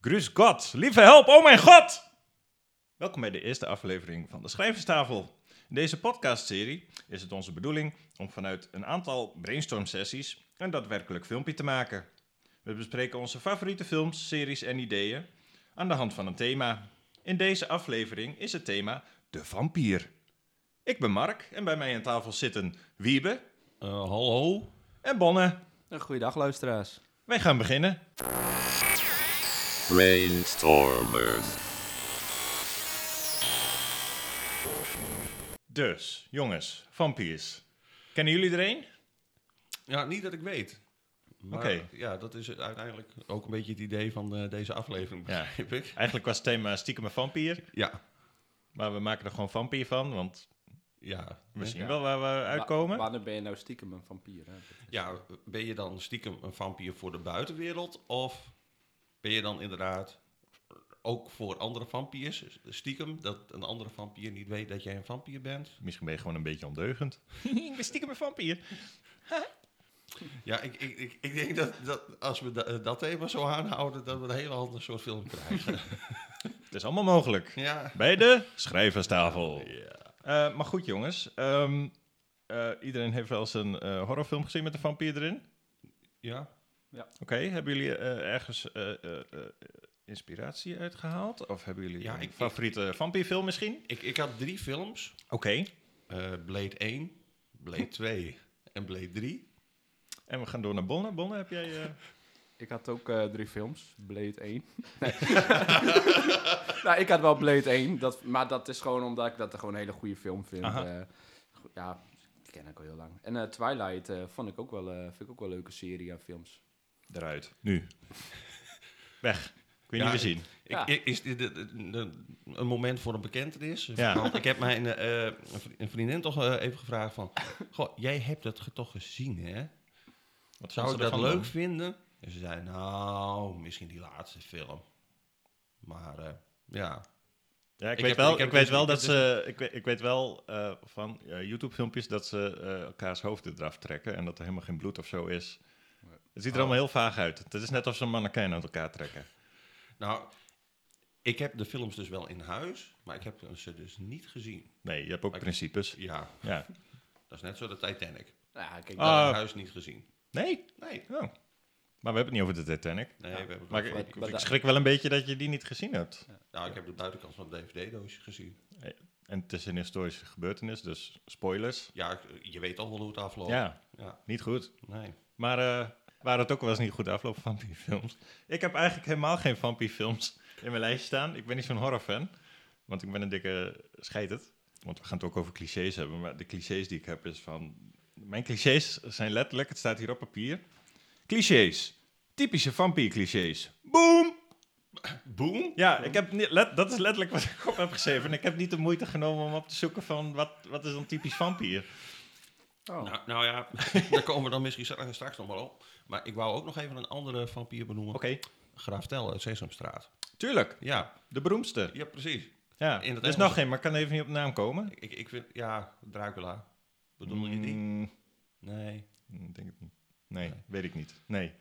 Grus God, lieve help, oh mijn god! Welkom bij de eerste aflevering van de Schrijverstafel. In deze podcastserie is het onze bedoeling om vanuit een aantal brainstormsessies een daadwerkelijk filmpje te maken. We bespreken onze favoriete films, series en ideeën aan de hand van een thema. In deze aflevering is het thema de vampier. Ik ben Mark en bij mij aan tafel zitten Wiebe Eh, hallo? en Bonne. Eh, Goeiedag luisteraars. Wij gaan beginnen. Brainstormers. Dus, jongens, vampiers. Kennen jullie er een? Ja, niet dat ik weet. Maar Oké. ja, dat is uiteindelijk ook een beetje het idee van eh, deze aflevering, Ja. begrijp ik. Eigenlijk was het thema stiekem een vampier, Ja, maar we maken er gewoon vampier van, want ja. we zien Ja. wel waar we uitkomen. Wa- wanneer ben je nou stiekem een vampier? Hè? Ja, ben je dan stiekem een vampier voor de buitenwereld? Of ben je dan inderdaad ook voor andere vampiers stiekem? Dat een andere vampier niet weet dat jij een vampier bent? Misschien ben je gewoon een beetje ondeugend. ik ben stiekem een vampier. Ja, ik, ik, ik, ik denk dat, dat als we da- dat thema zo aanhouden, dat we een hele andere soort film krijgen. Het is allemaal mogelijk. ja. Bij de schrijverstafel. Eh, maar goed, jongens. ehm, eh, iedereen heeft wel eens een eh, horrorfilm gezien met een vampier erin. Ja. Oké, hebben jullie eh, ergens eh, eh, eh, inspiratie uitgehaald? Of hebben jullie Ja, een ik- ik- favoriete vampierfilm misschien? Ik, ik had drie films. Oké. Eh, Blade 1, Blade 2 en Blade 3. En we gaan door naar Bonne. Bonne, heb jij... eh, Ik had ook eh, drie films. Blade 1. Nee. nou, ik had wel Blade 1. Dat, maar dat is gewoon omdat ik dat gewoon een hele goede film vind. Aha. Eh, go- ja, die ken ik al heel lang. En eh, Twilight eh, vond ik ook wel, eh, vind ik ook wel een leuke serie aan films. Eruit. Nu. Weg. Kun je Ja, niet meer zien. Ik, Ja. ik- is dit eh, eh, eh, een moment voor een bekentenis? Ja. Want ik heb mijn eh, eh, een vri- een vriendin toch eh, even gevraagd van... Goh, jij hebt dat ge- toch gezien, hè? Wat Zou vond ik ze ervan dat leuk dan? vinden? En ze zei, nou, misschien die laatste film. Maar eh, ja, Ja, ik, Ik weet heb- wel, ik ik, heb weet dus- wel ik heb dat ze... Ik weet, ik weet wel eh, van eh, YouTube-filmpjes dat ze eh, elkaars hoofden eraf trekken. En dat er helemaal geen bloed of zo is. Het ziet er Oh. allemaal heel vaag uit. Het is net alsof ze een mannequin uit elkaar trekken. nou... Ik heb de films dus wel in huis, maar ik heb ze dus niet gezien. Nee, je hebt ook Maar ik- principes. Ja, Ja. dat is net zo de Titanic. Nou, ja, kijk, Ik heb Ah. in huis niet gezien. Nee? Nee, Oh. Maar we hebben het niet over de Titanic. nee, we hebben Maar het ik, over- ik- maar ik dat- schrik wel een beetje dat je die niet gezien hebt. Nou, ik heb de buitenkant van het DVD-doosje gezien. En het is een historische gebeurtenis, dus spoilers. Ja, ik- je weet al wel hoe het afloopt. Ja, Ja, niet goed. nee. Maar eh waar het ook wel eens niet goed afloopt, vampierfilms. Ik heb eigenlijk helemaal geen vampierfilms in mijn lijstje staan. Ik ben niet zo'n horrorfan, want ik ben een dikke scheiterd. Want we gaan het ook over clichés hebben, maar de clichés die ik heb is van... Mijn clichés zijn letterlijk, het staat hier op papier. Clichés. Typische vampierclichés. Boom! Boom? Ja, ik heb niet, let- dat is letterlijk wat ik op heb geschreven. En ik heb niet de moeite genomen om op te zoeken van wat, wat is dan typisch vampier. oh. Nou, nou ja, daar komen we dan misschien stra- straks nog wel op. Maar ik wou ook nog even een andere vampier benoemen. Oké, Graaf Tel uit Sesamstraat. tuurlijk. Ja, De beroemdste. ja precies. Ja, In er het is Engels. nog geen, maar ik kan even niet op naam komen. Ik, ik vind, ja, Dracula. Bedoel je die? Mm, Nee. ik denk het niet. Nee, Nee. weet ik niet. Nee.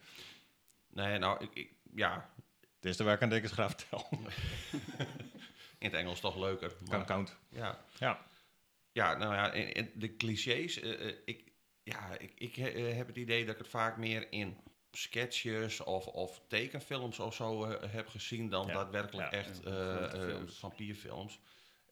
Nee, nou, ik, ik- ja, Het eerste waar ik aan denk is Graaf Tel. in het Engels toch leuker. Kan maar- count. Ja. Ja. Ja, nou ja, en, en de clichés. eh, eh, ik, ja, ik, ik eh, heb het idee dat ik het vaak meer in sketches of, of tekenfilms of zo eh, heb gezien dan Ja, daadwerkelijk ja. echt Ja, eh, grote eh, films. vampierfilms.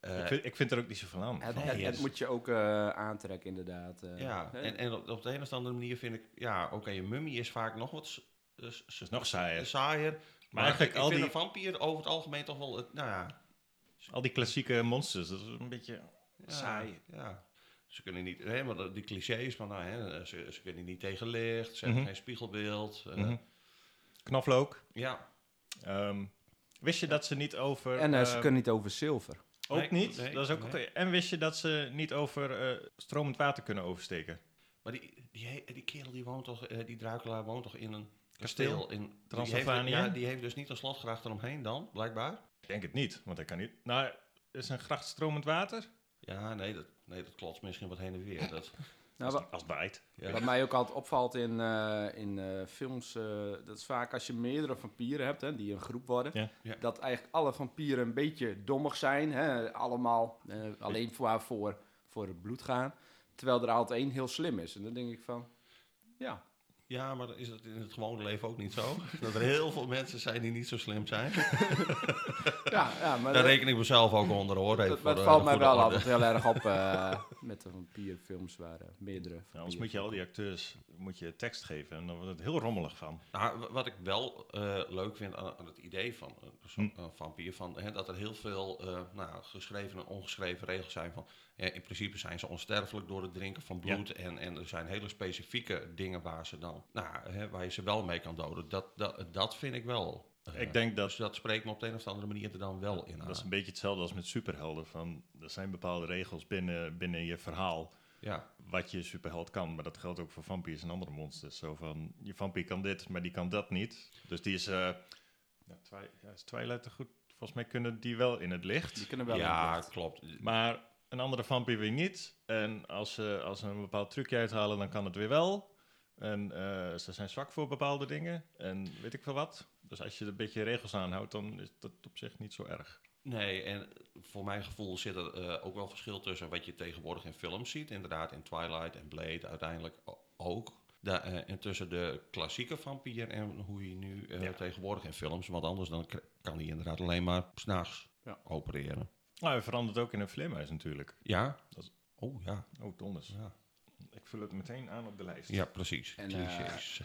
Eh, ik, vind, ik vind er ook niet zoveel aan. Het, van. het- yes. het moet je ook eh, aantrekken, inderdaad. eh. ja, en, en op, op de een of andere manier vind ik, ja, oké, een mummie is vaak nog wat s- s- s- is nog Dus- saaier. saaier. Maar, eigenlijk ik, ik al vind die- een vampier over het algemeen toch wel, het, nou ja, Al die klassieke monsters, dat is een beetje... ja, Saai. Ja. Ze kunnen niet, hè, maar de- die clichés, maar nou, hè, ze, ze kunnen niet tegen licht, Mhm. ze hebben geen spiegelbeeld. eh, Mhm. Knoflook. Ja, Ehm, wist je dat ze niet over... En eh, ze eh, kunnen niet over zilver. Ook Nee, niet. nee, dat is ook nee. oké. En wist je dat ze niet over eh, stromend water kunnen oversteken? Maar die, die, he- die kerel die woont toch, eh, die Dracula woont toch in een Kasteel? kasteel, in Transylvanië? Die heeft, ja, die heeft dus niet een slotgracht eromheen dan, blijkbaar. Ik denk het niet, want hij kan niet. Nou, is een gracht stromend water? Ja, nee, dat, nee, dat klopt misschien wat heen en weer. Dat, Nou, wa- als, als bijt. Ja. Wat mij ook altijd opvalt in, eh, in eh, films, eh, dat is vaak als je meerdere vampieren hebt, hè, die een groep worden, Ja. Ja. dat eigenlijk alle vampieren een beetje dommig zijn, hè, allemaal eh, alleen voor, voor, voor het bloed gaan, terwijl er altijd één heel slim is. En dan denk ik van, ja, Ja, maar is dat in het gewone leven ook niet zo? dat er heel veel mensen zijn die niet zo slim zijn. ja, ja maar Daar dat, reken ik mezelf ook onder hoor. even dat- voor eh, dat de valt mij goede wel orde. altijd heel erg op eh, met de vampierfilms waar eh, meerdere Nou, anders vampieren- moet je al die acteurs moet je tekst geven en dan wordt het heel rommelig van. Nou, wa- wat ik wel eh, leuk vind aan, aan het idee van eh, zo'n Hm. eh, vampier, van, hè, dat er heel veel eh, nou, geschreven en ongeschreven regels zijn van, eh, in principe zijn ze onsterfelijk door het drinken van bloed en, en er zijn hele specifieke dingen waar ze dan, nou, hè, waar je ze wel mee kan doden. Dat, dat, dat vind ik wel. eh, Ik denk dus dat dat spreekt me op de een of andere manier er dan wel in aan. dat is een beetje hetzelfde als met superhelden. Van, er zijn bepaalde regels binnen, binnen je verhaal Ja, wat je superheld kan. Maar dat geldt ook voor vampiers en andere monsters. Zo van, je vampier kan dit, maar die kan dat niet. Dus die is, eh ja, twi- ja, is Twilight er goed? Volgens mij kunnen die wel in het licht. Die kunnen wel in ja het licht. klopt. Maar een andere vampier weer niet. En als ze, als ze een bepaald trucje uithalen, dan kan het weer wel. En eh, ze zijn zwak voor bepaalde dingen. En weet ik veel wat. Dus als je er een beetje regels aanhoudt, dan is dat op zich niet zo erg. Nee, en voor mijn gevoel zit er eh, ook wel verschil tussen wat je tegenwoordig in films ziet. Inderdaad, in Twilight en Blade uiteindelijk o- ook. Da- eh, en tussen de klassieke vampier en hoe je nu eh, Ja. tegenwoordig in films. Want anders dan k- kan hij inderdaad alleen maar s'nachts Ja. opereren. Nou, hij verandert ook in een vleermuis natuurlijk. Ja? Dat is- Oh ja. Oh, donders. Ja, Ik vul het meteen aan op de lijst. ja precies. En, Clichés.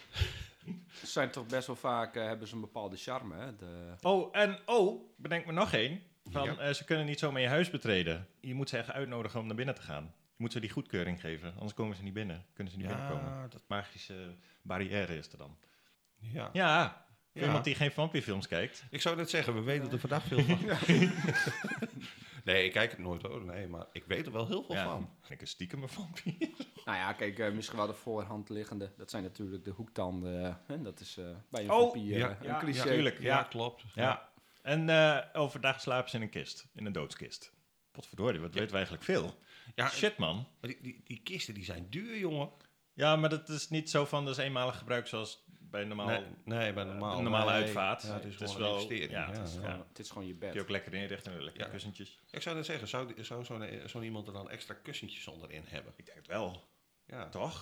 Ze zijn toch best wel vaak, eh, hebben ze een bepaalde charme, hè? De, Oh, en oh, bedenk me nog één. Van, Ja. eh, ze kunnen niet zomaar je huis betreden. Je moet ze echt uitnodigen om naar binnen te gaan. Je moet ze die goedkeuring geven, anders komen ze niet binnen. Kunnen ze niet binnenkomen. ja, dat, Magische barrière is er dan. ja. Ja, Voor Ja. Iemand die geen vampierfilms kijkt. Ik zou net zeggen, we weten er vandaag veel van. nee, ik kijk het nooit hoor. Nee, maar ik weet er wel heel veel Ja, van. ben ik een stiekem een vampier. Nou ja, kijk, eh, misschien wel de voorhand liggende. Dat zijn natuurlijk de hoektanden. eh, Hè? Dat is eh, bij een Oh, vampier ja, eh, ja, een cliché. ja, tuurlijk. Ja, klopt. Ja. En eh, overdag slapen ze in een kist. In een doodskist. Potverdorie, wat weten we eigenlijk veel. Ja, Shit, man. Maar die, die, die kisten die zijn duur, jongen. Ja, maar dat is niet zo van, dat is eenmalig gebruik zoals bij normaal... nee, nee, bij eh, normaal. een normale nee. uitvaart. Ja, het is Het is gewoon wel- een investering. ja, Ja, het is ja. gewoon- Ja, Het is gewoon je Kun je ook bed. lekker inrichten en lekkere Ja. kussentjes. Ik zou net zeggen, zou, die- zou zo'n eh, zo'n iemand er dan extra kussentjes onderin hebben? Ik denk het wel. Ja, Toch?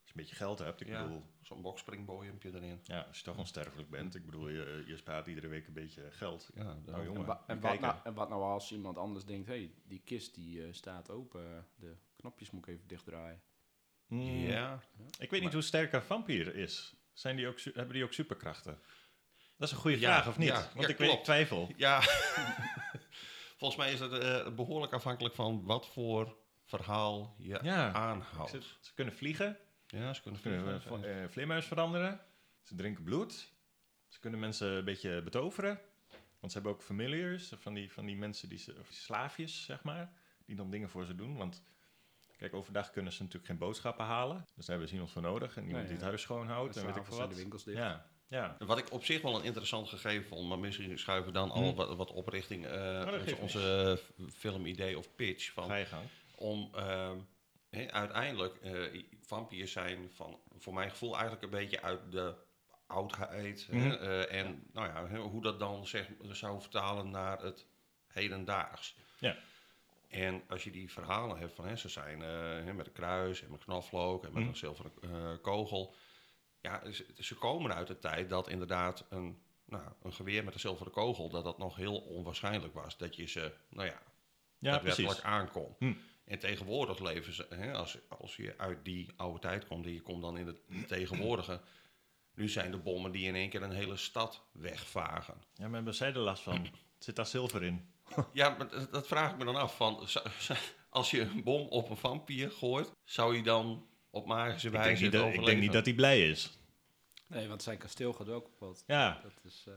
Als je een beetje geld hebt, ik Ja. bedoel... zo'n bokspringboeiempje erin. Ja, als je toch onsterfelijk bent. Ik bedoel, je, je spaart iedere week een beetje geld. Ja, Nou, jongen. En, wa- en Even wat kijken. nou, en wat nou als iemand anders denkt, hé, hey, die kist die eh, staat open. De knopjes moet ik even dichtdraaien. Mm. Ja, Ik weet niet Maar- hoe sterk een vampier is. Zijn die ook, su- hebben die ook superkrachten? Dat is een goede Ja, vraag, of niet? ja, Want ja, ik, weet, ik klopt. twijfel. ja. volgens mij is dat eh, behoorlijk afhankelijk van wat voor verhaal je Ja. aanhoudt. Ze, ze kunnen vliegen, Ja, ze kunnen ze kunnen eh, vliegen. va- eh, vleermuis veranderen, ze drinken bloed, ze kunnen mensen een beetje betoveren. Want ze hebben ook familiars, van die, van die mensen, die ze, of slaafjes, zeg maar, die dan dingen voor ze doen. Want kijk, overdag kunnen ze natuurlijk geen boodschappen halen. Dus daar hebben ze iemand voor nodig. En iemand Nou Nee, die het ja. huis schoonhoudt en Oh, weet ik s'avonds veel zijn de wat. winkels dicht. Ja, ja. Wat ik op zich wel een interessant gegeven vond, maar misschien schuiven we dan al Hm. wat, wat op richting eh, dat onze, geeft onze filmidee of pitch. Van, Ga je gang. om ehm, hè, uiteindelijk eh, vampiers zijn van voor mijn gevoel eigenlijk een beetje uit de oudheid hè, Mhm. eh, en nou ja hè, hoe dat dan zeg, zou vertalen naar het hedendaags. Ja. En als je die verhalen hebt van hè, ze zijn eh, hè, met een kruis en met een knoflook en met Mhm. een zilveren eh, kogel. Ja, ze, ze komen uit de tijd dat inderdaad een, nou, een geweer met een zilveren kogel, dat dat nog heel onwaarschijnlijk was. Dat je ze, nou ja, Ja, daadwerkelijk precies. aankomt. Hm. En tegenwoordig leven ze, hè, als, als je uit die oude tijd komt en je komt dan in Hm. het tegenwoordige. Nu zijn de bommen die in één keer een hele stad wegvagen. Ja, maar hebben zij er last van? Zit daar zilver in? Ja, maar dat, dat vraag ik me dan af. Van, zou- zou- als je een bom op een vampier gooit, zou je dan op magische Ik wijze denk, niet het dat, ik overleven? denk niet dat hij blij is. Nee, want zijn kasteel gaat ook op wat. Ja. Dat is, eh,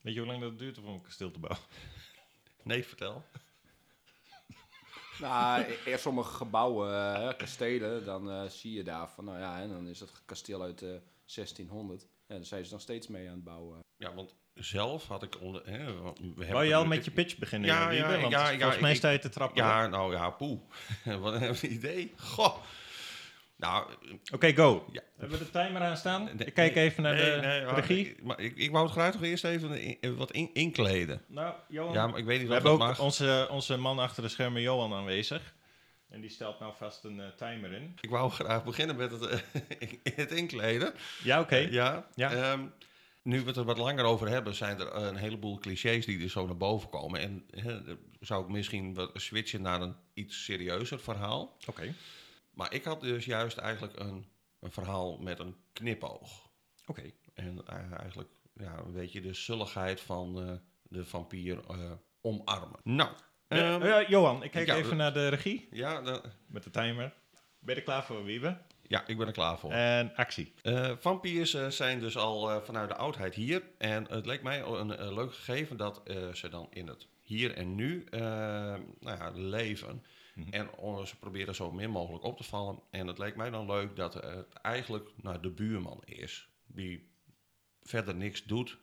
Weet je hoe lang dat duurt om een kasteel te bouwen? Nee, vertel. nou, e- eerst sommige gebouwen, eh, kastelen, dan eh, zie je daar van, nou ja, en dan is dat kasteel uit eh 1600. Ja, daar zijn ze nog steeds mee aan het bouwen. Ja, want zelf had ik... Onder, hè, want we hebben Wou je al natuurlijk- met je pitch beginnen? Ja, Wiebe? ja, Want ja, ja, volgens mij ik- sta je te trappen. Ja, nou ja, poe. Wat een idee. Goh. Nou, Oké, go. Ja. Hebben we de timer aan staan? Nee, Ik kijk nee, even naar de maar regie. Ik, maar ik, ik wou het graag toch eerst even in- wat in- inkleden. nou, Johan. Ja, maar ik weet niet we of hebben dat ook mag. onze, onze man achter de schermen, Johan, aanwezig. En die stelt nou vast een eh, timer in. Ik wou graag beginnen met het, eh, het inkleden. Ja, oké. Ja. Ja. Ehm, nu we het er wat langer over hebben, zijn er een heleboel clichés die er zo naar boven komen. En hè, dan zou ik misschien wat switchen naar een iets serieuzer verhaal. Oké. Maar ik had dus juist eigenlijk een, een verhaal met een knipoog. Oké. En eh, eigenlijk ja, een beetje de zulligheid van eh, de vampier eh, omarmen. Nou, Eh, ehm, eh, Johan, ik kijk ja, even we- naar de regie ja, dan- met de timer. Ben je er klaar voor, Wiebe? ja, ik ben er klaar voor. En actie. Eh, vampiers eh, zijn dus al eh, vanuit de oudheid hier. En het leek mij een eh, leuk gegeven dat eh, ze dan in het hier en nu eh, nou ja, leven. Mhm. En oh, ze proberen zo min mogelijk op te vallen. En het leek mij dan leuk dat eh, het eigenlijk nou, de buurman is. Die verder niks doet.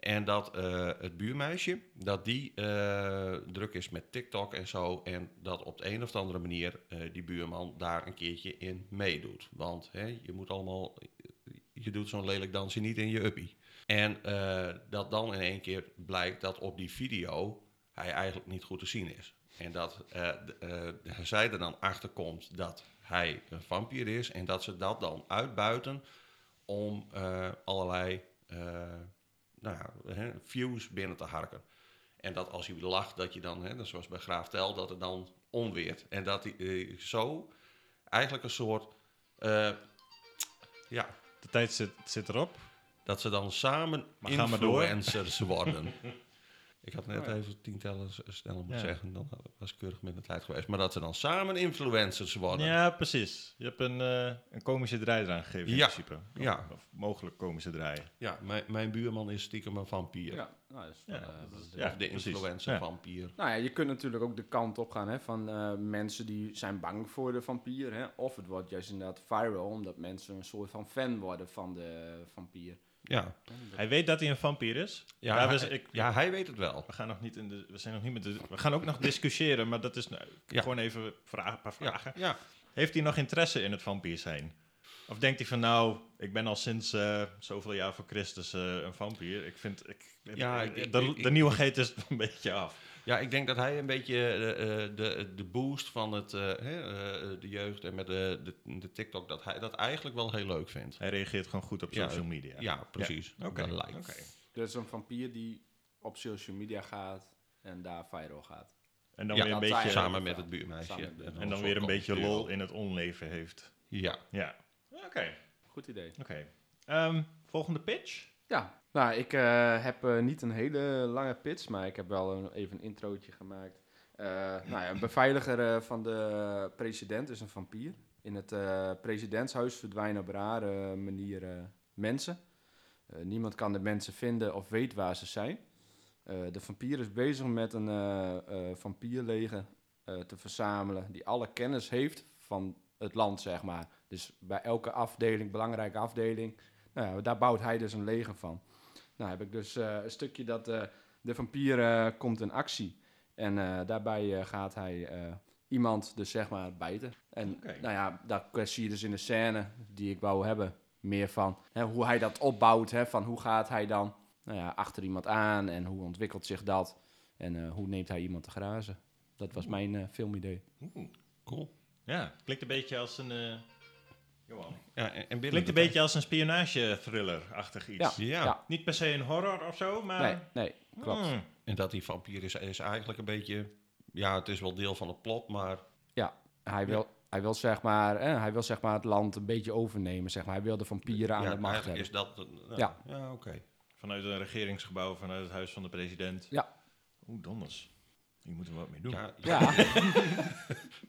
En dat eh, het buurmeisje, dat die eh, druk is met TikTok en zo. En dat op de een of andere manier eh, die buurman daar een keertje in meedoet. Want hè, je moet allemaal, je doet zo'n lelijk dansje niet in je uppie. En eh, dat dan in één keer blijkt dat op die video hij eigenlijk niet goed te zien is. En dat eh, d- eh, zij er dan achter komt dat hij een vampier is. En dat ze dat dan uitbuiten om eh, allerlei eh, nou ja, hè, views binnen te harken. En dat als hij lacht, dat je dan, hè, net zoals bij Graaf Tel, dat het dan onweert. En dat hij eh, zo eigenlijk een soort, eh, ja, De tijd zit, zit erop. dat ze dan samen Maar ga maar door. influencers worden. Ik had net Oh ja. even tientallen s- eh, sneller moeten Ja. zeggen, dan was ik keurig met de tijd geweest. Maar dat ze dan samen influencers worden. Ja, precies. Je hebt een, eh, een komische draai eraan gegeven in Ja. principe. Of- Ja. Of mogelijk komische draaien. Ja, mijn, mijn buurman is stiekem een vampier. Ja, nou, dat is wel, Ja, eh, dat is ja. of de precies. influencer Ja. vampier. Nou ja, je kunt natuurlijk ook de kant op gaan hè, van eh, mensen die zijn bang voor de vampier. Hè, of het wordt juist inderdaad viral, omdat mensen een soort van fan worden van de eh, vampier. Ja, Hij weet dat hij een vampier is. ja, Maar hij, we, ik- ja hij weet het wel. we gaan nog niet in de, we zijn nog niet met de, we gaan ook nog discussiëren, maar dat is nou, Ja. gewoon even vragen, een paar Ja, vragen. ja. Heeft hij nog interesse in het vampier zijn? Of denkt hij van nou, ik ben al sinds eh, zoveel jaar voor Christus eh, een vampier. Ik vind, ik, Ja, ik- ik- de, ik- de nieuwigheid is een beetje af. ja, ik denk dat hij een beetje eh, eh, de, de boost van het, eh, hè, eh, de jeugd en met de, de, de TikTok, dat hij dat eigenlijk wel heel leuk vindt. Hij reageert gewoon goed op Ja, social media. Ja, precies. Oké. Dat lijkt. oké. Dat is een vampier die op social media gaat en daar viral gaat. En dan Ja, weer een dat zijn- beetje Samen Ja. met het buurmeisje. Samen met het en dan weer een beetje lol in het onleven heeft. Ja. Ja. Oké. Goed idee. Oké. Ehm, volgende pitch. Ja, nou, ik eh, heb eh, niet een hele lange pitch, maar ik heb wel een, even een introotje gemaakt. Eh, nou ja, een beveiliger eh, van de president is een vampier. In het eh, presidentshuis verdwijnen op rare manieren mensen. Eh, niemand kan de mensen vinden of weet waar ze zijn. Eh, de vampier is bezig met een eh, eh, vampierleger eh, te verzamelen die alle kennis heeft van het land, zeg maar. Dus bij elke afdeling, belangrijke afdeling, nou, ja, daar bouwt hij dus een leger van. Nou heb ik dus eh, een stukje dat eh, de vampier eh, komt in actie. En eh, daarbij eh, gaat hij eh, iemand dus zeg maar bijten. En Oké. nou ja, daar zie je dus in de scène die ik wou hebben meer van. Hè, hoe hij dat opbouwt, hè, van hoe gaat hij dan nou ja, achter iemand aan en hoe ontwikkelt zich dat. En eh, hoe neemt hij iemand te grazen. Dat was mijn eh, filmidee. Cool. Ja, klinkt een beetje als een. eh, Johan. Ja, en, en binnen Klinkt de een beetje als een spionage-thriller-achtig iets. Ja. Niet per se een horror of zo, maar. Nee, nee, klopt. Hmm. En dat die vampier is, is eigenlijk een beetje... Ja, het is wel deel van het plot, maar... Hij wil, hij wil, zeg, maar, eh, hij wil zeg maar het land een beetje overnemen. Zeg maar. Hij wil de vampieren aan ja, de macht eigenlijk hebben. is dat... een- nou, Ja. Ja, oké. Vanuit een regeringsgebouw, vanuit het huis van de president. Ja. Oeh, donders. Hier moeten we wat mee doen. Ja, ja. Ja,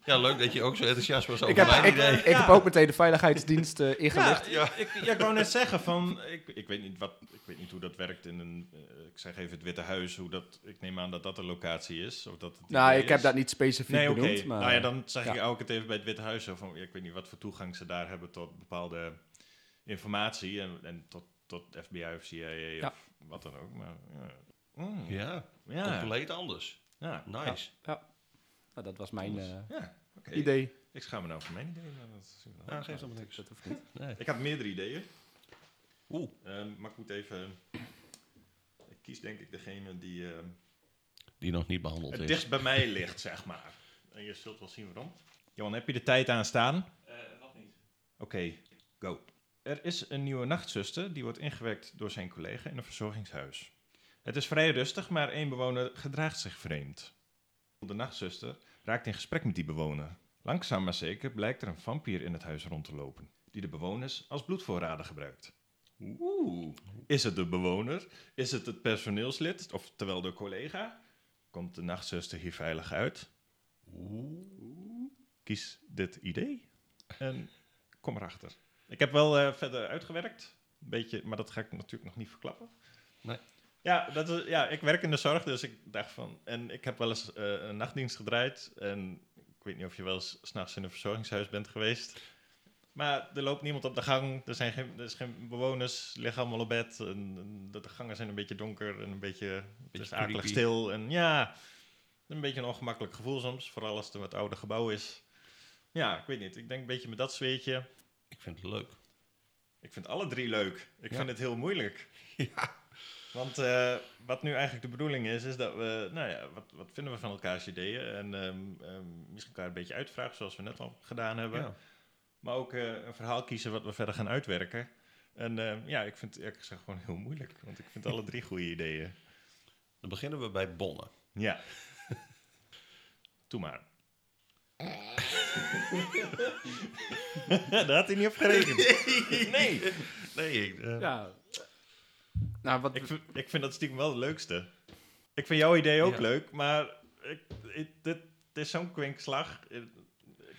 ja, leuk dat je ook zo enthousiast was over ik, heb, mijn ik, idee. ik heb ook meteen de veiligheidsdienst eh, ingelicht. Ja, ik, ja, ik wou net zeggen van, ik, ik, weet niet wat, ik weet niet hoe dat werkt in een, eh, ik zeg even het Witte Huis, hoe dat, ik neem aan dat dat de locatie is. Of dat het Nou, idee ik heb is. dat niet specifiek dus- Nee, oké. benoemd. Maar, Nou ja, dan zeg ja. ik ook het even bij het Witte Huis. zo Van, ja, ik weet niet wat voor toegang ze daar hebben tot bepaalde informatie. En, en tot, tot FBI of CIA Ja. of wat dan ook. Maar, ja. Mm, ja. Ja, Ja. compleet anders. Ja. Nice. Nou, dat was mijn eh, Ja, oké. idee. Ik schaam me nou voor mijn idee. maar dat zien we dan. Ja, geeft helemaal niks. Dat hoeft niet. Nee. Ik had meerdere ideeën. Oeh, Ehm, maar ik moet even... Ik kies denk ik degene die ehm, die nog niet behandeld het is. dichtst bij mij ligt, zeg maar. En je zult wel zien waarom. Johan, heb je de tijd aan staan? Eh, nog niet. Oké, go. Er is een nieuwe nachtzuster die wordt ingewerkt door zijn collega in een verzorgingshuis. Het is vrij rustig, maar één bewoner gedraagt zich vreemd. De nachtzuster raakt in gesprek met die bewoner. Langzaam maar zeker blijkt er een vampier in het huis rond te lopen, die de bewoners als bloedvoorraden gebruikt. Oeh, is het de bewoner? Is het het personeelslid, oftewel de collega? Komt de nachtzuster hier veilig uit? Kies dit idee en kom erachter. Ik heb wel eh, verder uitgewerkt, een beetje, maar dat ga ik natuurlijk nog niet verklappen. Nee. Ja, dat is, ja, ik werk in de zorg, dus ik dacht van... En ik heb wel eens eh, een nachtdienst gedraaid. En ik weet niet of je wel eens s'nachts in een verzorgingshuis bent geweest. Maar er loopt niemand op de gang. Er zijn geen, er is geen bewoners, liggen allemaal op bed. En, en de, de gangen zijn een beetje donker en een beetje, het is akelig creepy. stil. En ja, een beetje een ongemakkelijk gevoel soms. Vooral als het een wat ouder gebouw is. Ja, ik weet niet. Ik denk een beetje met dat zweetje. Ik vind het leuk. Ik vind alle drie leuk. Ik Ja. vind het heel moeilijk. Want eh, wat nu eigenlijk de bedoeling is, is dat we, nou ja, wat, wat vinden we van elkaars ideeën? En ehm, ehm, misschien elkaar een beetje uitvragen, zoals we net al gedaan hebben. Ja. Maar ook eh, een verhaal kiezen wat we verder gaan uitwerken. En ehm, ja, ik vind het eerlijk gezegd gewoon heel moeilijk. Want ik vind alle drie goede ideeën. Dan beginnen we bij Bonne. Ja. Doe maar. Daar had hij niet op gerekend. Nee. Nee, ik, eh, Ja. Nou, wat, Ik vind, ik vind dat stiekem wel het leukste. Ik vind jouw idee ook Ja. leuk, maar ik, ik- dit, dit is zo'n kwinkslag. Ik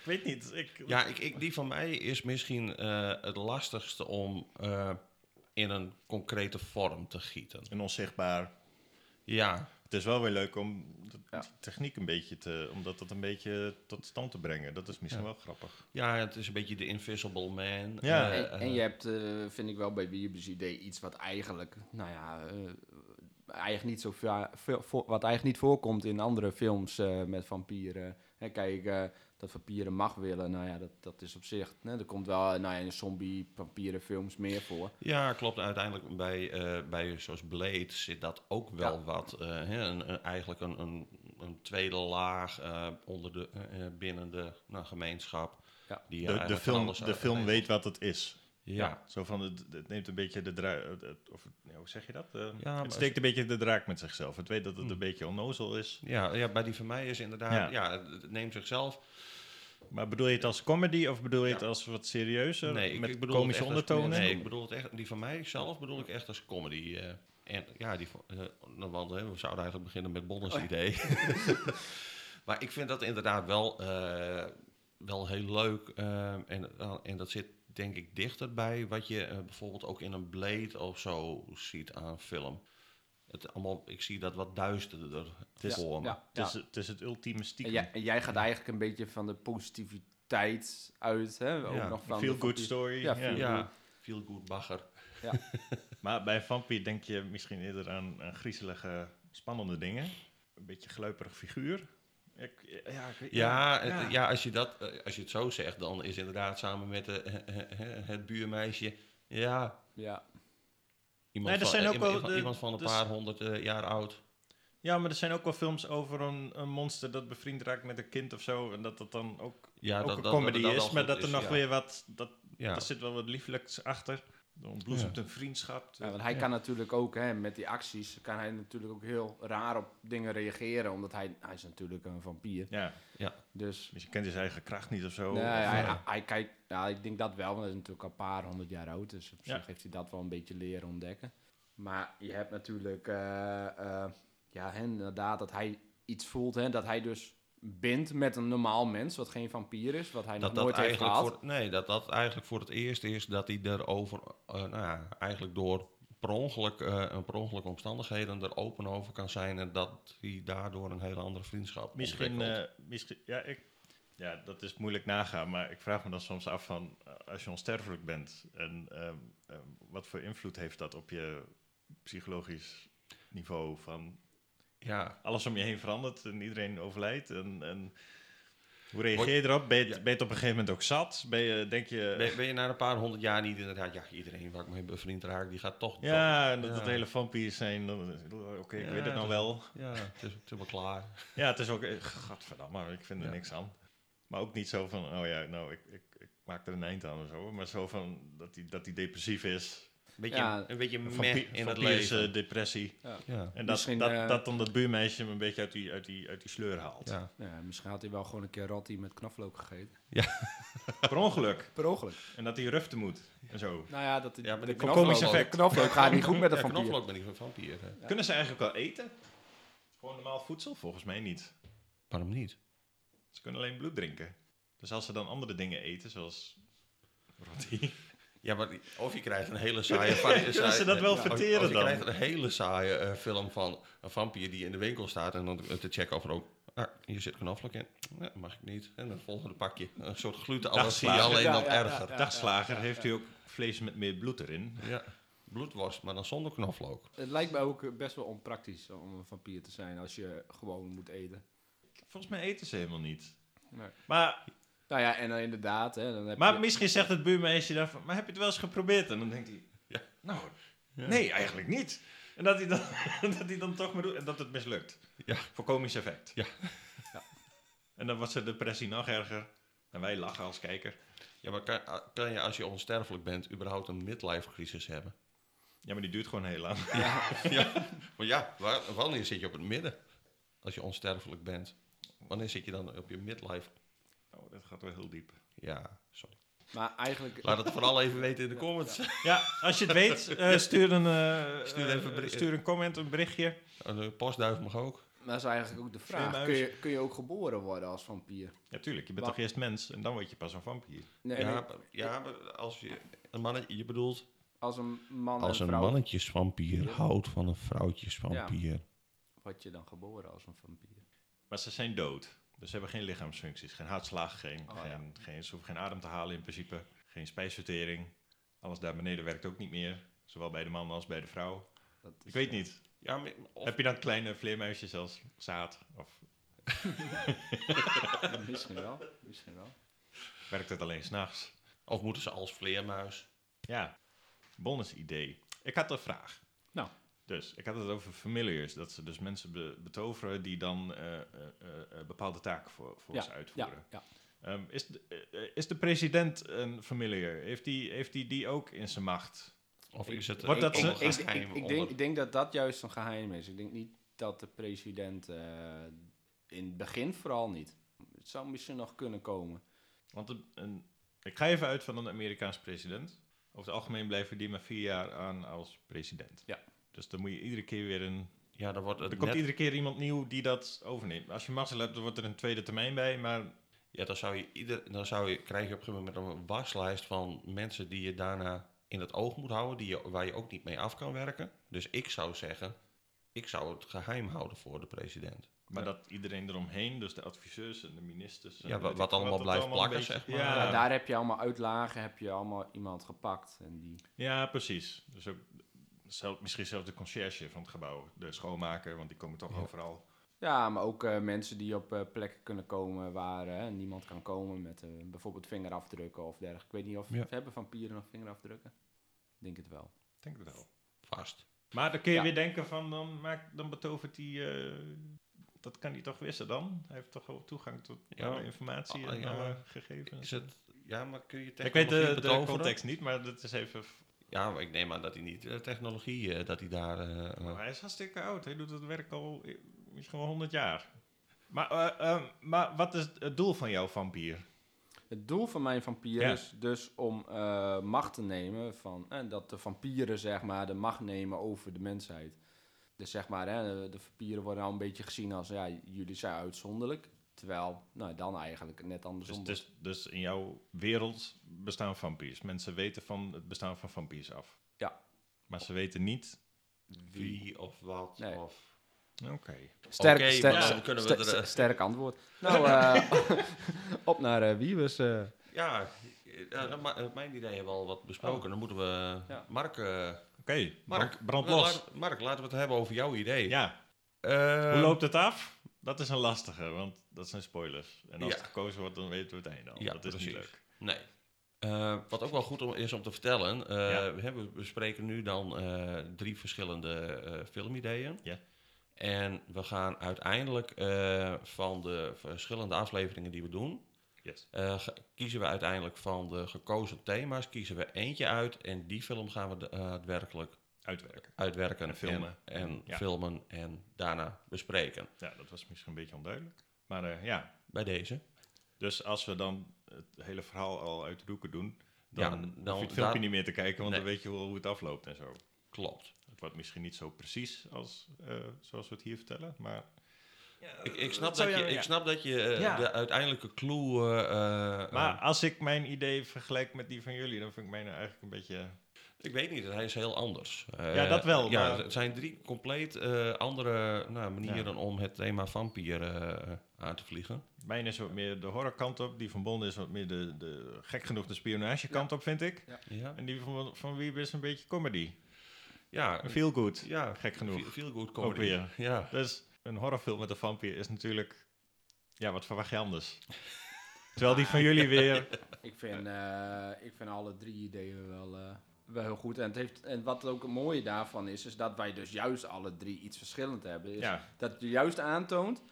ik weet niet. Ik, ja ik, ik, die van mij is misschien eh, het lastigste om eh, in een concrete vorm te gieten. En onzichtbaar. Ja, Het is wel weer leuk om de Ja. die techniek een beetje te... om dat, dat een beetje tot stand te brengen. Dat is misschien wel grappig. ja, het is een beetje de Invisible Man. Ja. eh, en, en eh, je hebt, eh, vind ik wel bij Wiebes idee, iets wat eigenlijk, nou ja, eh, eigenlijk niet zo va- veel, voor- wat eigenlijk niet voorkomt in andere films eh, met vampieren. Hè, kijk, eh, dat vampieren mag willen, nou ja, dat, dat is op zich. Hè, er komt wel eh, nou ja, in zombie-vampierenfilms meer voor. Ja, klopt. Uiteindelijk bij, eh, bij zoals Blade zit dat ook wel Ja. wat. eh, hè, een, een- eigenlijk een, een, een tweede laag eh, onder de, eh, eh, binnen de nou, gemeenschap. Ja. die de, de eigenlijk van film, alles de uit- film weet wat het is. Ja. Zo van, het, het neemt een beetje de draak... Of, ja, hoe zeg je dat? Eh, maar het als- steekt een beetje de draak met zichzelf. Het weet dat het Hmm. een beetje onnozel is. Ja, ja, bij die van mij is inderdaad, ja, het neemt zichzelf. Maar bedoel je het als comedy of bedoel je het Ja. als wat serieuzer? Nee, ik met bedoel het komische echt als- ondertonen? nee, ik bedoel het echt, die van mij zelf bedoel ik echt als comedy. eh. en ja, die, van- eh, nou, want hè, we zouden eigenlijk beginnen met Bonnes idee. maar ik vind dat inderdaad wel, eh, wel heel leuk. eh, en, en dat zit denk ik dichter bij wat je eh, bijvoorbeeld ook in een Blade of zo ziet aan film. Het allemaal, ik zie dat wat duisterder is- voor me. Het is, het is het ultieme En stiekem. jij, en jij gaat eigenlijk een beetje van de positiviteit uit, hè? Ook Ja, nog van Feel good de vampier- story. Ja, Ja, feel- Ja, feel good bagger. Maar bij Vampire denk je misschien eerder aan, aan griezelige, spannende dingen. Een beetje gluiperig figuur. Ik, eh, ja, ik weet- Ja, het- ja. als, je dat, eh, als je het zo zegt, dan is inderdaad samen met de, eh, eh, eh, het buurmeisje. Ja, Ja. iemand, Nee, dat van, zijn eh, ook iemand, wel van- de- iemand van een dus- paar honderd eh, jaar oud. Ja, maar er zijn ook wel films over een, een monster dat bevriend raakt met een kind of zo. En dat dat dan ook, Ja, ook dat, een dat- comedy dat- dat is, wel maar goed dat er nog ja. weer wat... Dat, Ja. Daar zit wel wat lieflijks achter. Er ontbloesemt een vriendschap. Ja, want hij kan natuurlijk ook, hè, met die acties, kan hij natuurlijk ook heel raar op dingen reageren. Omdat hij, hij is natuurlijk een vampier. Ja, Dus dus je kent zijn eigen kracht niet of Oh. zo. nee, Of, hij, eh, hij, hij kijkt, ja, ik denk dat wel, want hij is natuurlijk al een paar honderd jaar oud. Dus op Ja. zich heeft hij dat wel een beetje leren ontdekken. Maar je hebt natuurlijk, eh, eh, ja, hè, inderdaad, dat hij iets voelt. Hè, dat hij dus bindt met een normaal mens, wat geen vampier is. Wat hij dat, nog dat, nooit heeft eigenlijk gehad. voor, nee, dat dat eigenlijk voor het eerst is dat hij erover, eh, nou ja, eigenlijk door per ongeluk, eh, een per ongeluk omstandigheden er open over kan zijn. En dat hij daardoor een hele andere vriendschap Misschien, ontwikkelt. eh, misschien ja, ik, ja, dat is moeilijk nagaan, maar ik vraag me dan soms af van, eh, als je onsterfelijk bent, en, ehm, ehm, wat voor invloed heeft dat op je psychologisch niveau van ja, eh, alles om je heen verandert en iedereen overlijdt en, en Hoe reageer je erop? Ben je, ben je het op een gegeven moment ook zat? Ben je, denk je... Ben, ben je na een paar honderd jaar niet inderdaad... Ja, iedereen waar ik mee bevriend raak, die gaat toch... ja, dat, dood. dat Ja. hele vampiers zijn. dan- Oké, ik Ja, weet het nou dat- wel. Ja, het is, het is wel klaar. Ja, het is ook... eh, Gadverdamme, ik vind er Ja. niks aan. Maar ook niet zo van, oh ja, nou, ik, ik, ik maak er een eind aan of zo. Maar zo van, dat hij dat die depressief is. Beetje, Ja. een beetje Een meh vampie- in het vampierse leven. depressie. Ja, En dat, Misschien, dat, eh, dat dan dat buurmeisje hem een beetje uit die, uit die, uit die sleur haalt. ja. Ja, misschien had hij wel gewoon een keer rotti met knoflook gegeten. Per ongeluk. Per ongeluk. En dat hij rufte moet. En zo. Nou ja, dat Ja, maar de die knoflook, komisch effect. de knoflook gaat niet goed met een ja vampier. knoflook ben ik van vampier. hè. Kunnen ze eigenlijk wel eten? Gewoon normaal voedsel? Volgens mij niet. Waarom niet? Ze kunnen alleen bloed drinken. Dus als ze dan andere dingen eten, zoals rotti. Ja, maar die- of je krijgt een hele saaie... Kunnen ze dat wel verteren of je dan? krijgt een hele saaie eh, film van een vampier die in de winkel staat... en dan te checken of er ook... Ah, hier zit knoflook in. Ja, mag ik niet. En het volgende pakje. Een soort glutenallergie, zie je. alleen Ja, dan ja, ja, erger. ja. Dagslager heeft hij ook vlees met meer bloed erin. Ja, bloedworst, maar dan zonder knoflook. Het lijkt me ook eh, best wel onpraktisch om een vampier te zijn als je gewoon moet eten. Volgens mij eten ze helemaal niet. Nee. Maar, Nou ja, en dan inderdaad, hè, dan heb maar je... misschien zegt het buurmeisje dan van, maar heb je het wel eens geprobeerd? En dan denkt hij, Ja. nou, nee, eigenlijk niet. En dat hij, dan, dat hij dan toch maar doet en dat het mislukt. Ja. Voor komisch effect. Ja. Ja. En dan wordt zijn depressie nog erger. En wij lachen als kijker. Ja, maar kan, a- kan je als je onsterfelijk bent überhaupt een midlife crisis hebben? Ja, maar die duurt gewoon heel lang. ja, maar ja, waar- wanneer zit je op het midden? Als je onsterfelijk bent. Wanneer zit je dan op je midlife? Oh, dat gaat wel heel diep. Ja, sorry. Maar eigenlijk... Laat het vooral even weten in de comments. Ja, als je het weet, eh, stuur, een, eh, Stuur even een eh, bericht. stuur een comment, een berichtje. De eh, postduif mag ook. Maar dat is eigenlijk ook de vraag. Slimhuis. Kun je, kun je ook geboren worden als vampier? Ja, tuurlijk. Je bent Wa- toch eerst mens en dan word je pas een vampier. Nee, ja, nee, maar- ja, maar als je een mannetje, je bedoelt... als een man Als en een vrouw mannetjesvampier houdt van een vrouwtjesvampier. word je dan geboren als een vampier. Maar ze zijn dood. Dus ze hebben geen lichaamsfuncties. Geen hartslag, geen, Oh, geen, geen, ze hoeven geen adem te halen in principe. Geen spijsvertering. Alles daar beneden werkt ook niet meer. Zowel bij de man als bij de vrouw. Dat is, Ik weet eh, niet. Ja, maar, of- Heb je dan kleine vleermuisjes als zaad? Of eh, Misschien wel, misschien wel. werkt het alleen s'nachts? of moeten ze als vleermuis? Ja, bonus idee. Ik had een vraag. Nou. Dus, ik had het over familiars. Dat ze dus mensen be- betoveren die dan eh, eh, eh, eh, bepaalde taken voor, voor ze uitvoeren. Ja, ja. Ehm, is, de, eh, eh, is de president een familiar? Heeft die, heeft die die ook in zijn macht? Of Ik- is het Wordt een dat ze- enkel Ik, ik, geheim ik onder- denk, ik denk dat dat juist een geheim is. Ik denk niet dat de president, eh, in het begin vooral niet. Het zou misschien nog kunnen komen. Want een, een- ik ga even uit van een Amerikaans president. Over het algemeen blijven die maar vier jaar aan als president. Ja. Dus dan moet je iedere keer weer een... Ja, dan wordt het Er komt net- iedere keer iemand nieuw die dat overneemt. Als je mazzel hebt, dan wordt er een tweede termijn bij. Maar Ja, dan zou je ieder, dan zou je, krijg je op een gegeven moment een waslijst van mensen die je daarna in het oog moet houden, die je, waar je ook niet mee af kan werken. Dus ik zou zeggen, ik zou het geheim houden voor de president. Maar dat iedereen eromheen, dus de adviseurs en de ministers. en Ja, wa- weet ik wat veel allemaal blijft een plakken, beetje- zeg maar. Ja, Maar daar heb je allemaal uitlagen, heb je allemaal iemand gepakt. En die, ja, precies. Dus ook zelf, misschien zelfs de conciërge van het gebouw, de schoonmaker, want die komen toch Ja. overal. ja, maar ook eh, mensen die op eh, plekken kunnen komen waar eh, niemand kan komen met eh, bijvoorbeeld vingerafdrukken of dergelijke. Ik weet niet of Ja. hebben vampieren nog vingerafdrukken. Ik denk het wel. Ik denk het wel. Vast. Maar dan kun je Ja. weer denken van, dan, maakt, dan betovert hij... eh, dat kan hij toch wissen dan? Hij heeft toch wel toegang tot Ja. alle informatie Ah, en ja, alle maar gegevens. Is het, ja, maar kun je ik technologie weet de, de betoveren? context niet, maar dat is even... Ja, maar ik neem aan dat hij niet eh, technologie, eh, dat hij daar... eh, eh, Maar hij is hartstikke oud. Hij doet het werk al eh, misschien wel 100 jaar. Maar, eh, eh, maar wat is het doel van jouw vampier? Het doel van mijn vampier Ja. is dus om eh, macht te nemen van... En dat de vampieren, zeg maar, de macht nemen over de mensheid. Dus zeg maar, hè, de vampieren worden al een beetje gezien als... Ja, jullie zijn uitzonderlijk. Terwijl, nou, dan eigenlijk net andersom. Dus, dus, dus in jouw wereld bestaan vampiers. Mensen weten van het bestaan van vampiers af. Ja. Maar ze weten niet. wie of wat Nee. of... Oké. sterk, dus- Oké, sterk, maar ja, dan kunnen we ster- er... eh, sterk antwoord. Nou, eh, op naar eh, Wiebes. eh. Ja, eh, ja, dan ma- eh, mijn idee hebben we al wat Oh. besproken. Dan moeten we... Ja. Mark... eh, Oké. Mark, Brand, brand la- los. laat- Mark, laten we het hebben over jouw idee. Ja. Eh, Hoe loopt het af? Dat is een lastige, want dat zijn spoilers. En als Ja. het gekozen wordt, dan weten we het einde al. Ja, dat is niet precies. leuk. Nee. Eh, wat ook wel goed om, is om te vertellen. eh, Ja. we, hebben, we bespreken nu dan eh, drie verschillende eh, filmideeën. Ja. En we gaan uiteindelijk eh, van de verschillende afleveringen die we doen, Yes. eh, ge- kiezen we uiteindelijk van de gekozen thema's, kiezen we eentje uit en die film gaan we de- eh, daadwerkelijk Uitwerken. uitwerken En filmen. En, en Ja. filmen en daarna bespreken. Ja, dat was misschien een beetje onduidelijk. Maar eh, ja, Bij deze. dus als we dan het hele verhaal al uit de doeken doen, Ja, dan, dan- hoef je het filmpje daar- niet meer te kijken, want dan Nee. weet je wel hoe het afloopt en zo. Klopt. Het wordt misschien niet zo precies als eh, zoals we het hier vertellen, maar Ik, ik, snap, Eh, zou dat je, jou- ja. ik snap dat je eh, Ja. de uiteindelijke clue... eh, eh, Maar als ik mijn idee vergelijk met die van jullie, dan vind ik mijn nou eigenlijk een beetje. Ik weet niet, hij is heel anders. Ja, Eh, dat wel, Ja, maar- Het zijn drie compleet eh, andere nou, manieren om het thema vampier eh, aan te vliegen. Mijn is wat meer de horrorkant op, die van Bond is wat meer de, de gek genoeg de spionagekant op, vind ik. Ja, En die van, van Wiebe is een beetje comedy. ja, Feel good, ja gek genoeg. Feel good comedy. Ook weer. Ja. Dus een horrorfilm met een vampier is natuurlijk. Ja, wat verwacht je anders? Terwijl die van jullie weer. Ik vind, eh, ik vind alle drie ideeën wel, eh, wel heel goed. En, het heeft, en wat ook het mooie daarvan is, is dat wij dus juist alle drie iets verschillend hebben. Is Ja, Dat je juist aantoont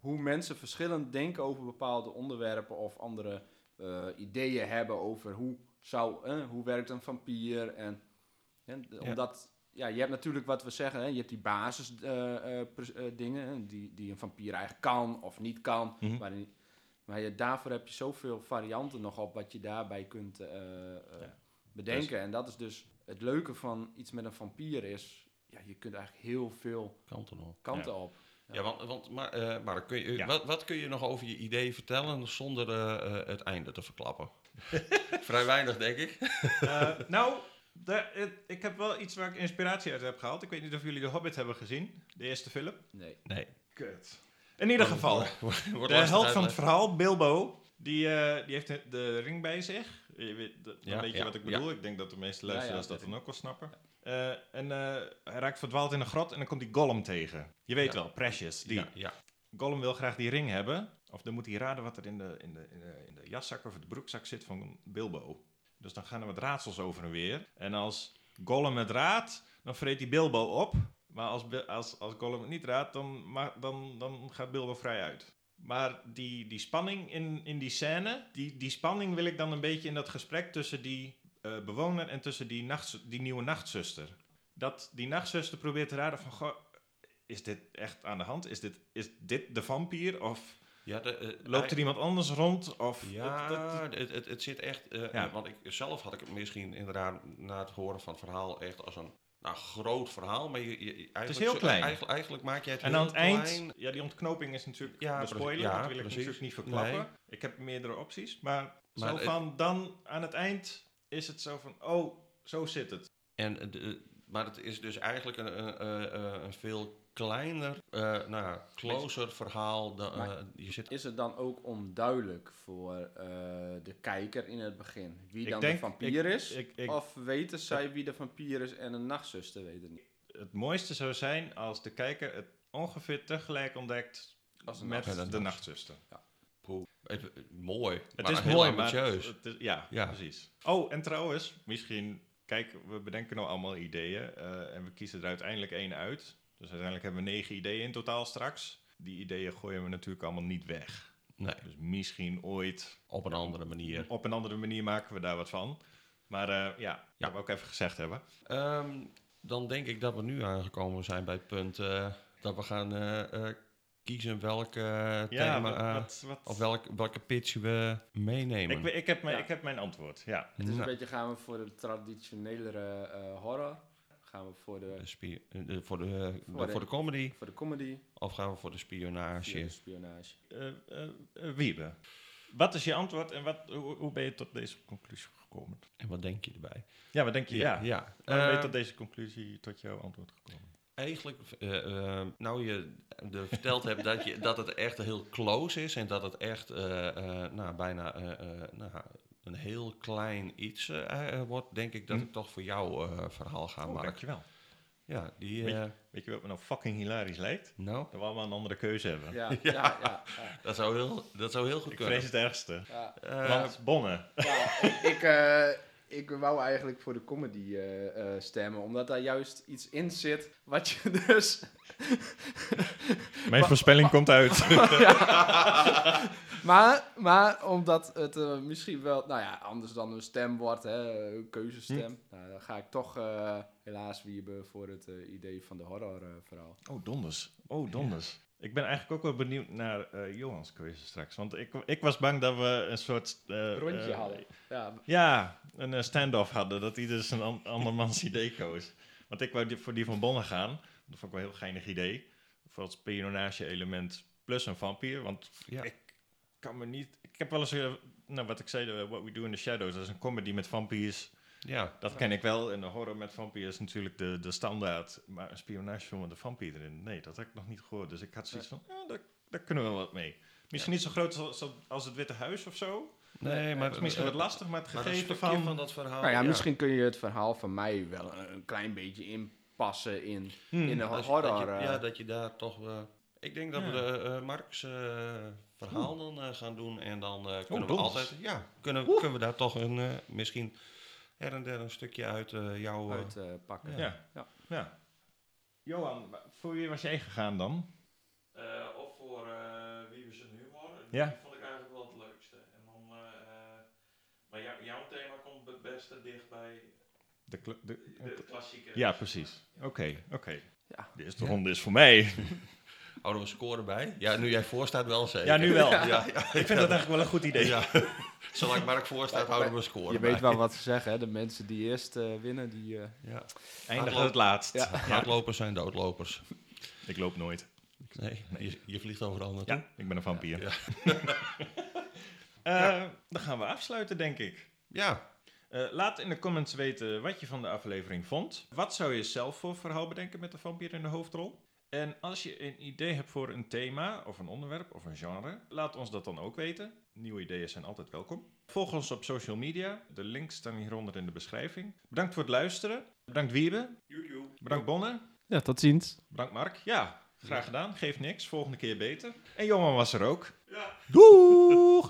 hoe mensen verschillend denken over bepaalde onderwerpen of andere eh, ideeën hebben over hoe, zou, eh, hoe werkt een vampier. En, en d- Ja. Omdat, ja, je hebt natuurlijk wat we zeggen, hè, je hebt die basisdingen eh pres- eh, dingen, hè, die, die een vampier eigenlijk kan of niet kan. Mhm. waarin- maar je, daarvoor heb je zoveel varianten nog op wat je daarbij kunt eh, eh, Ja. bedenken. En dat is dus het leuke van iets met een vampier is, ja, je kunt eigenlijk heel veel Kanten op. kanten op. Ja, want, want maar, eh, maar kun je, Ja. wat, wat kun je nog over je idee vertellen zonder eh, eh, het einde te verklappen? Vrij weinig, denk ik. Eh, nou, daar- het- ik heb wel iets waar ik inspiratie uit heb gehaald. Ik weet niet of jullie de Hobbit hebben gezien, de eerste film. Nee. Nee. Kut. In ieder geval. De held van het verhaal, Bilbo, die, eh, die heeft de, de ring bij zich. Je weet, dat- dan Ja, weet je ja, wat ik ja. bedoel. Ik denk dat de meeste Ja, luisteraars ja, dat dat dan ook wel snappen. Eh, en eh, hij raakt verdwaald in een grot en dan komt die Gollum tegen. Je weet Ja. wel, Precious. Die. Ja, ja. Gollum wil graag die ring hebben. Of dan moet hij raden wat er in de, in, de, in, de, in de jaszak of de broekzak zit van Bilbo. Dus dan gaan er wat raadsels over en weer. En als Gollum het raadt, dan vreet hij Bilbo op. Maar als, Bi- als, als Gollum het niet raadt, dan, ma- dan, dan gaat Bilbo vrij uit. Maar die, die spanning in, in die scène, die, die spanning wil ik dan een beetje in dat gesprek tussen die eh, bewoner en tussen die, nachts, die nieuwe nachtzuster. Dat die nachtzuster probeert te raden van, goh, is dit echt aan de hand? Is dit, is dit de vampier? Of Ja, de, eh, loopt er iemand anders rond? Of Ja, dat- dat- het, het, het zit echt. eh, Ja. Want ik, zelf had ik het misschien inderdaad na het horen van het verhaal echt als een nou, groot verhaal. Maar je, je- je, eigenlijk, heel zo- klein. Eigenlijk, eigenlijk maak jij het en heel aan het eind, klein. ja, die ontknoping is natuurlijk Ja, de spoiler. precies. Ja, dat wil ik precies. natuurlijk niet verklappen. Nee. Ik heb meerdere opties. Maar, Maar zo het- van, dan aan het eind is het zo van, oh, zo zit het. En, eh, de- maar het is dus eigenlijk een, een, eh, eh, een veel kleiner, eh, nou, ja, closer verhaal. Dan, Maar- eh, je zit Is het dan ook onduidelijk voor eh, de kijker in het begin wie Ik dan denk- de vampier is? Ik, ik, of weten zij wie de vampier is en een nachtzuster weet het niet? het mooiste zou zijn als de kijker het ongeveer tegelijk ontdekt Als een met nachtzuster. de nachtzuster. het- eh, mooi. Het maar is heel mooi, ambitieus. maar... het- het is- ja, Ja. precies. Oh, en trouwens, misschien... Kijk, we bedenken nou allemaal ideeën eh, en we kiezen er uiteindelijk één uit. Dus uiteindelijk hebben we negen ideeën in totaal straks. Die ideeën gooien we natuurlijk allemaal niet weg. Nee, Dus misschien ooit, op een andere manier. op een andere manier maken we daar wat van. Maar eh, ja, dat we ook even gezegd hebben. Ehm, dan denk ik dat we nu aangekomen zijn bij het punt eh, dat we gaan eh, eh, kiezen welke Ja, thema, eh, wat... wat, of welk, welke pitch we meenemen. ik, we- ik, heb mijn, Ja. ik heb mijn antwoord, ja. Het is Nou, een beetje gaan we voor de traditionelere eh, horror? Gaan we voor de, de spie- eh, de- voor, de, eh, Voor de- voor de comedy voor de comedy? of gaan we voor de spionage? Voor de spionage. Eh, eh, eh, Wiebe, wat is je antwoord en wat, hoe, hoe ben je tot deze conclusie gekomen? En wat denk je erbij? Ja, wat denk je? Ja, ja. Waarom ben Eh, je tot deze conclusie, tot jouw antwoord gekomen? Eigenlijk, eh, eh, nou je de verteld hebt dat, je, dat het echt heel close is en dat het echt eh, eh, nou, bijna eh, eh, nou, een heel klein iets eh, eh, wordt, denk ik dat Hm. ik toch voor jou eh, verhaal ga Oh, maken. dankjewel. Ja, die... Weet je- eh, Weet je wat me nou fucking hilarisch lijkt? nou, Dat we allemaal een andere keuze hebben. Ja, ja, ja. ja, dat zou heel, dat zou heel goed Ik kunnen. vrees het ergste. ja. Eh, Want bonnen. Ja, ik, ik, eh, ik wou eigenlijk voor de comedy eh, eh, stemmen, omdat daar juist iets in zit wat je dus... Mijn voorspelling komt uit. Maar, maar omdat het eh, misschien wel, nou ja, anders dan een stem wordt, hè, een keuzestem. Nou, dan ga ik toch eh, helaas wiepen voor het eh, idee van de horror eh, verhaal. Oh, donders. Oh, donders. Ik ben eigenlijk ook wel benieuwd naar eh Johans keuze straks. Want ik, ik was bang dat we een soort... eh, Rondje eh, hadden. Ja, Ja, een eh, standoff hadden. Dat ieder zijn an andermans idee koos. Want ik wou die, voor die van Bonnen gaan. Dat vond ik wel een heel geinig idee. Voor het spionage-element plus een vampier. Want Ja. ik kan me niet... Ik heb wel eens... eh, nou, wat ik zei, de What We Do in the Shadows. Dat is een comedy met vampiers. ja, Dat ken ik wel. En de horror met vampiers is natuurlijk de, de standaard. Maar een spionagefilm met een vampier erin. Nee, dat heb ik nog niet gehoord. Dus ik had zoiets van... eh, daar, daar kunnen we wel wat mee. Misschien niet zo groot als, als het Witte Huis of zo. nee, maar... Het is misschien wat lastig, maar het Eh, Maar een gegeven stukje van... van, dat verhaal... Nou ja, misschien kun je het verhaal van mij wel een, een klein beetje inpassen in, Hmm. in de Dat je- horror. dat je- eh. ja, dat je daar toch... eh, ik denk dat Ja. we de eh, Marx eh, verhaal dan eh, gaan doen. En dan eh, kunnen we donders. altijd... Ja, kunnen, kunnen we daar toch een, eh, misschien her en der een stukje uit eh jouw... eh, uit eh, pakken. Ja. Ja. Ja. Johan, wa- voor wie was jij gegaan dan? Eh, of voor eh, wie we ze nu horen. Ja. Die vond ik eigenlijk wel het leukste. En dan, eh, eh, maar jou- jouw thema komt het beste dicht bij De kla- de- eh, de klassieke. ja, precies. Oké, oké. Ja. De eerste ronde is voor mij. Houden we een score bij? Ja, nu jij voor staat wel zeker. Ja, nu wel. Ja, ja, ja. Ik vind dat eigenlijk wel een goed idee. Ja. Zolang Mark voor staat, houden we een score Je bij. weet wel wat ze zeggen, hè? de mensen die eerst eh, winnen, die... eh, Ja. Eindig het laatst. Ja. Hardlopers zijn doodlopers. Ik loop nooit. Nee, je, je vliegt overal naartoe. Ja, ik ben een vampier. Ja. Eh, Dan gaan we afsluiten, denk ik. Ja, Eh, laat in de comments weten wat je van de aflevering vond. Wat zou je zelf voor verhaal bedenken met de vampier in de hoofdrol? En als je een idee hebt voor een thema, of een onderwerp, of een genre, laat ons dat dan ook weten. Nieuwe ideeën zijn altijd welkom. Volg ons op social media. De links staan hieronder in de beschrijving. Bedankt voor het luisteren. Bedankt Wiebe. Joejoe. Bedankt Bonne. Ja, tot ziens. Bedankt Mark. Ja, graag gedaan. Geeft niks. Volgende keer beter. En Johan was er ook. Ja. Doeg!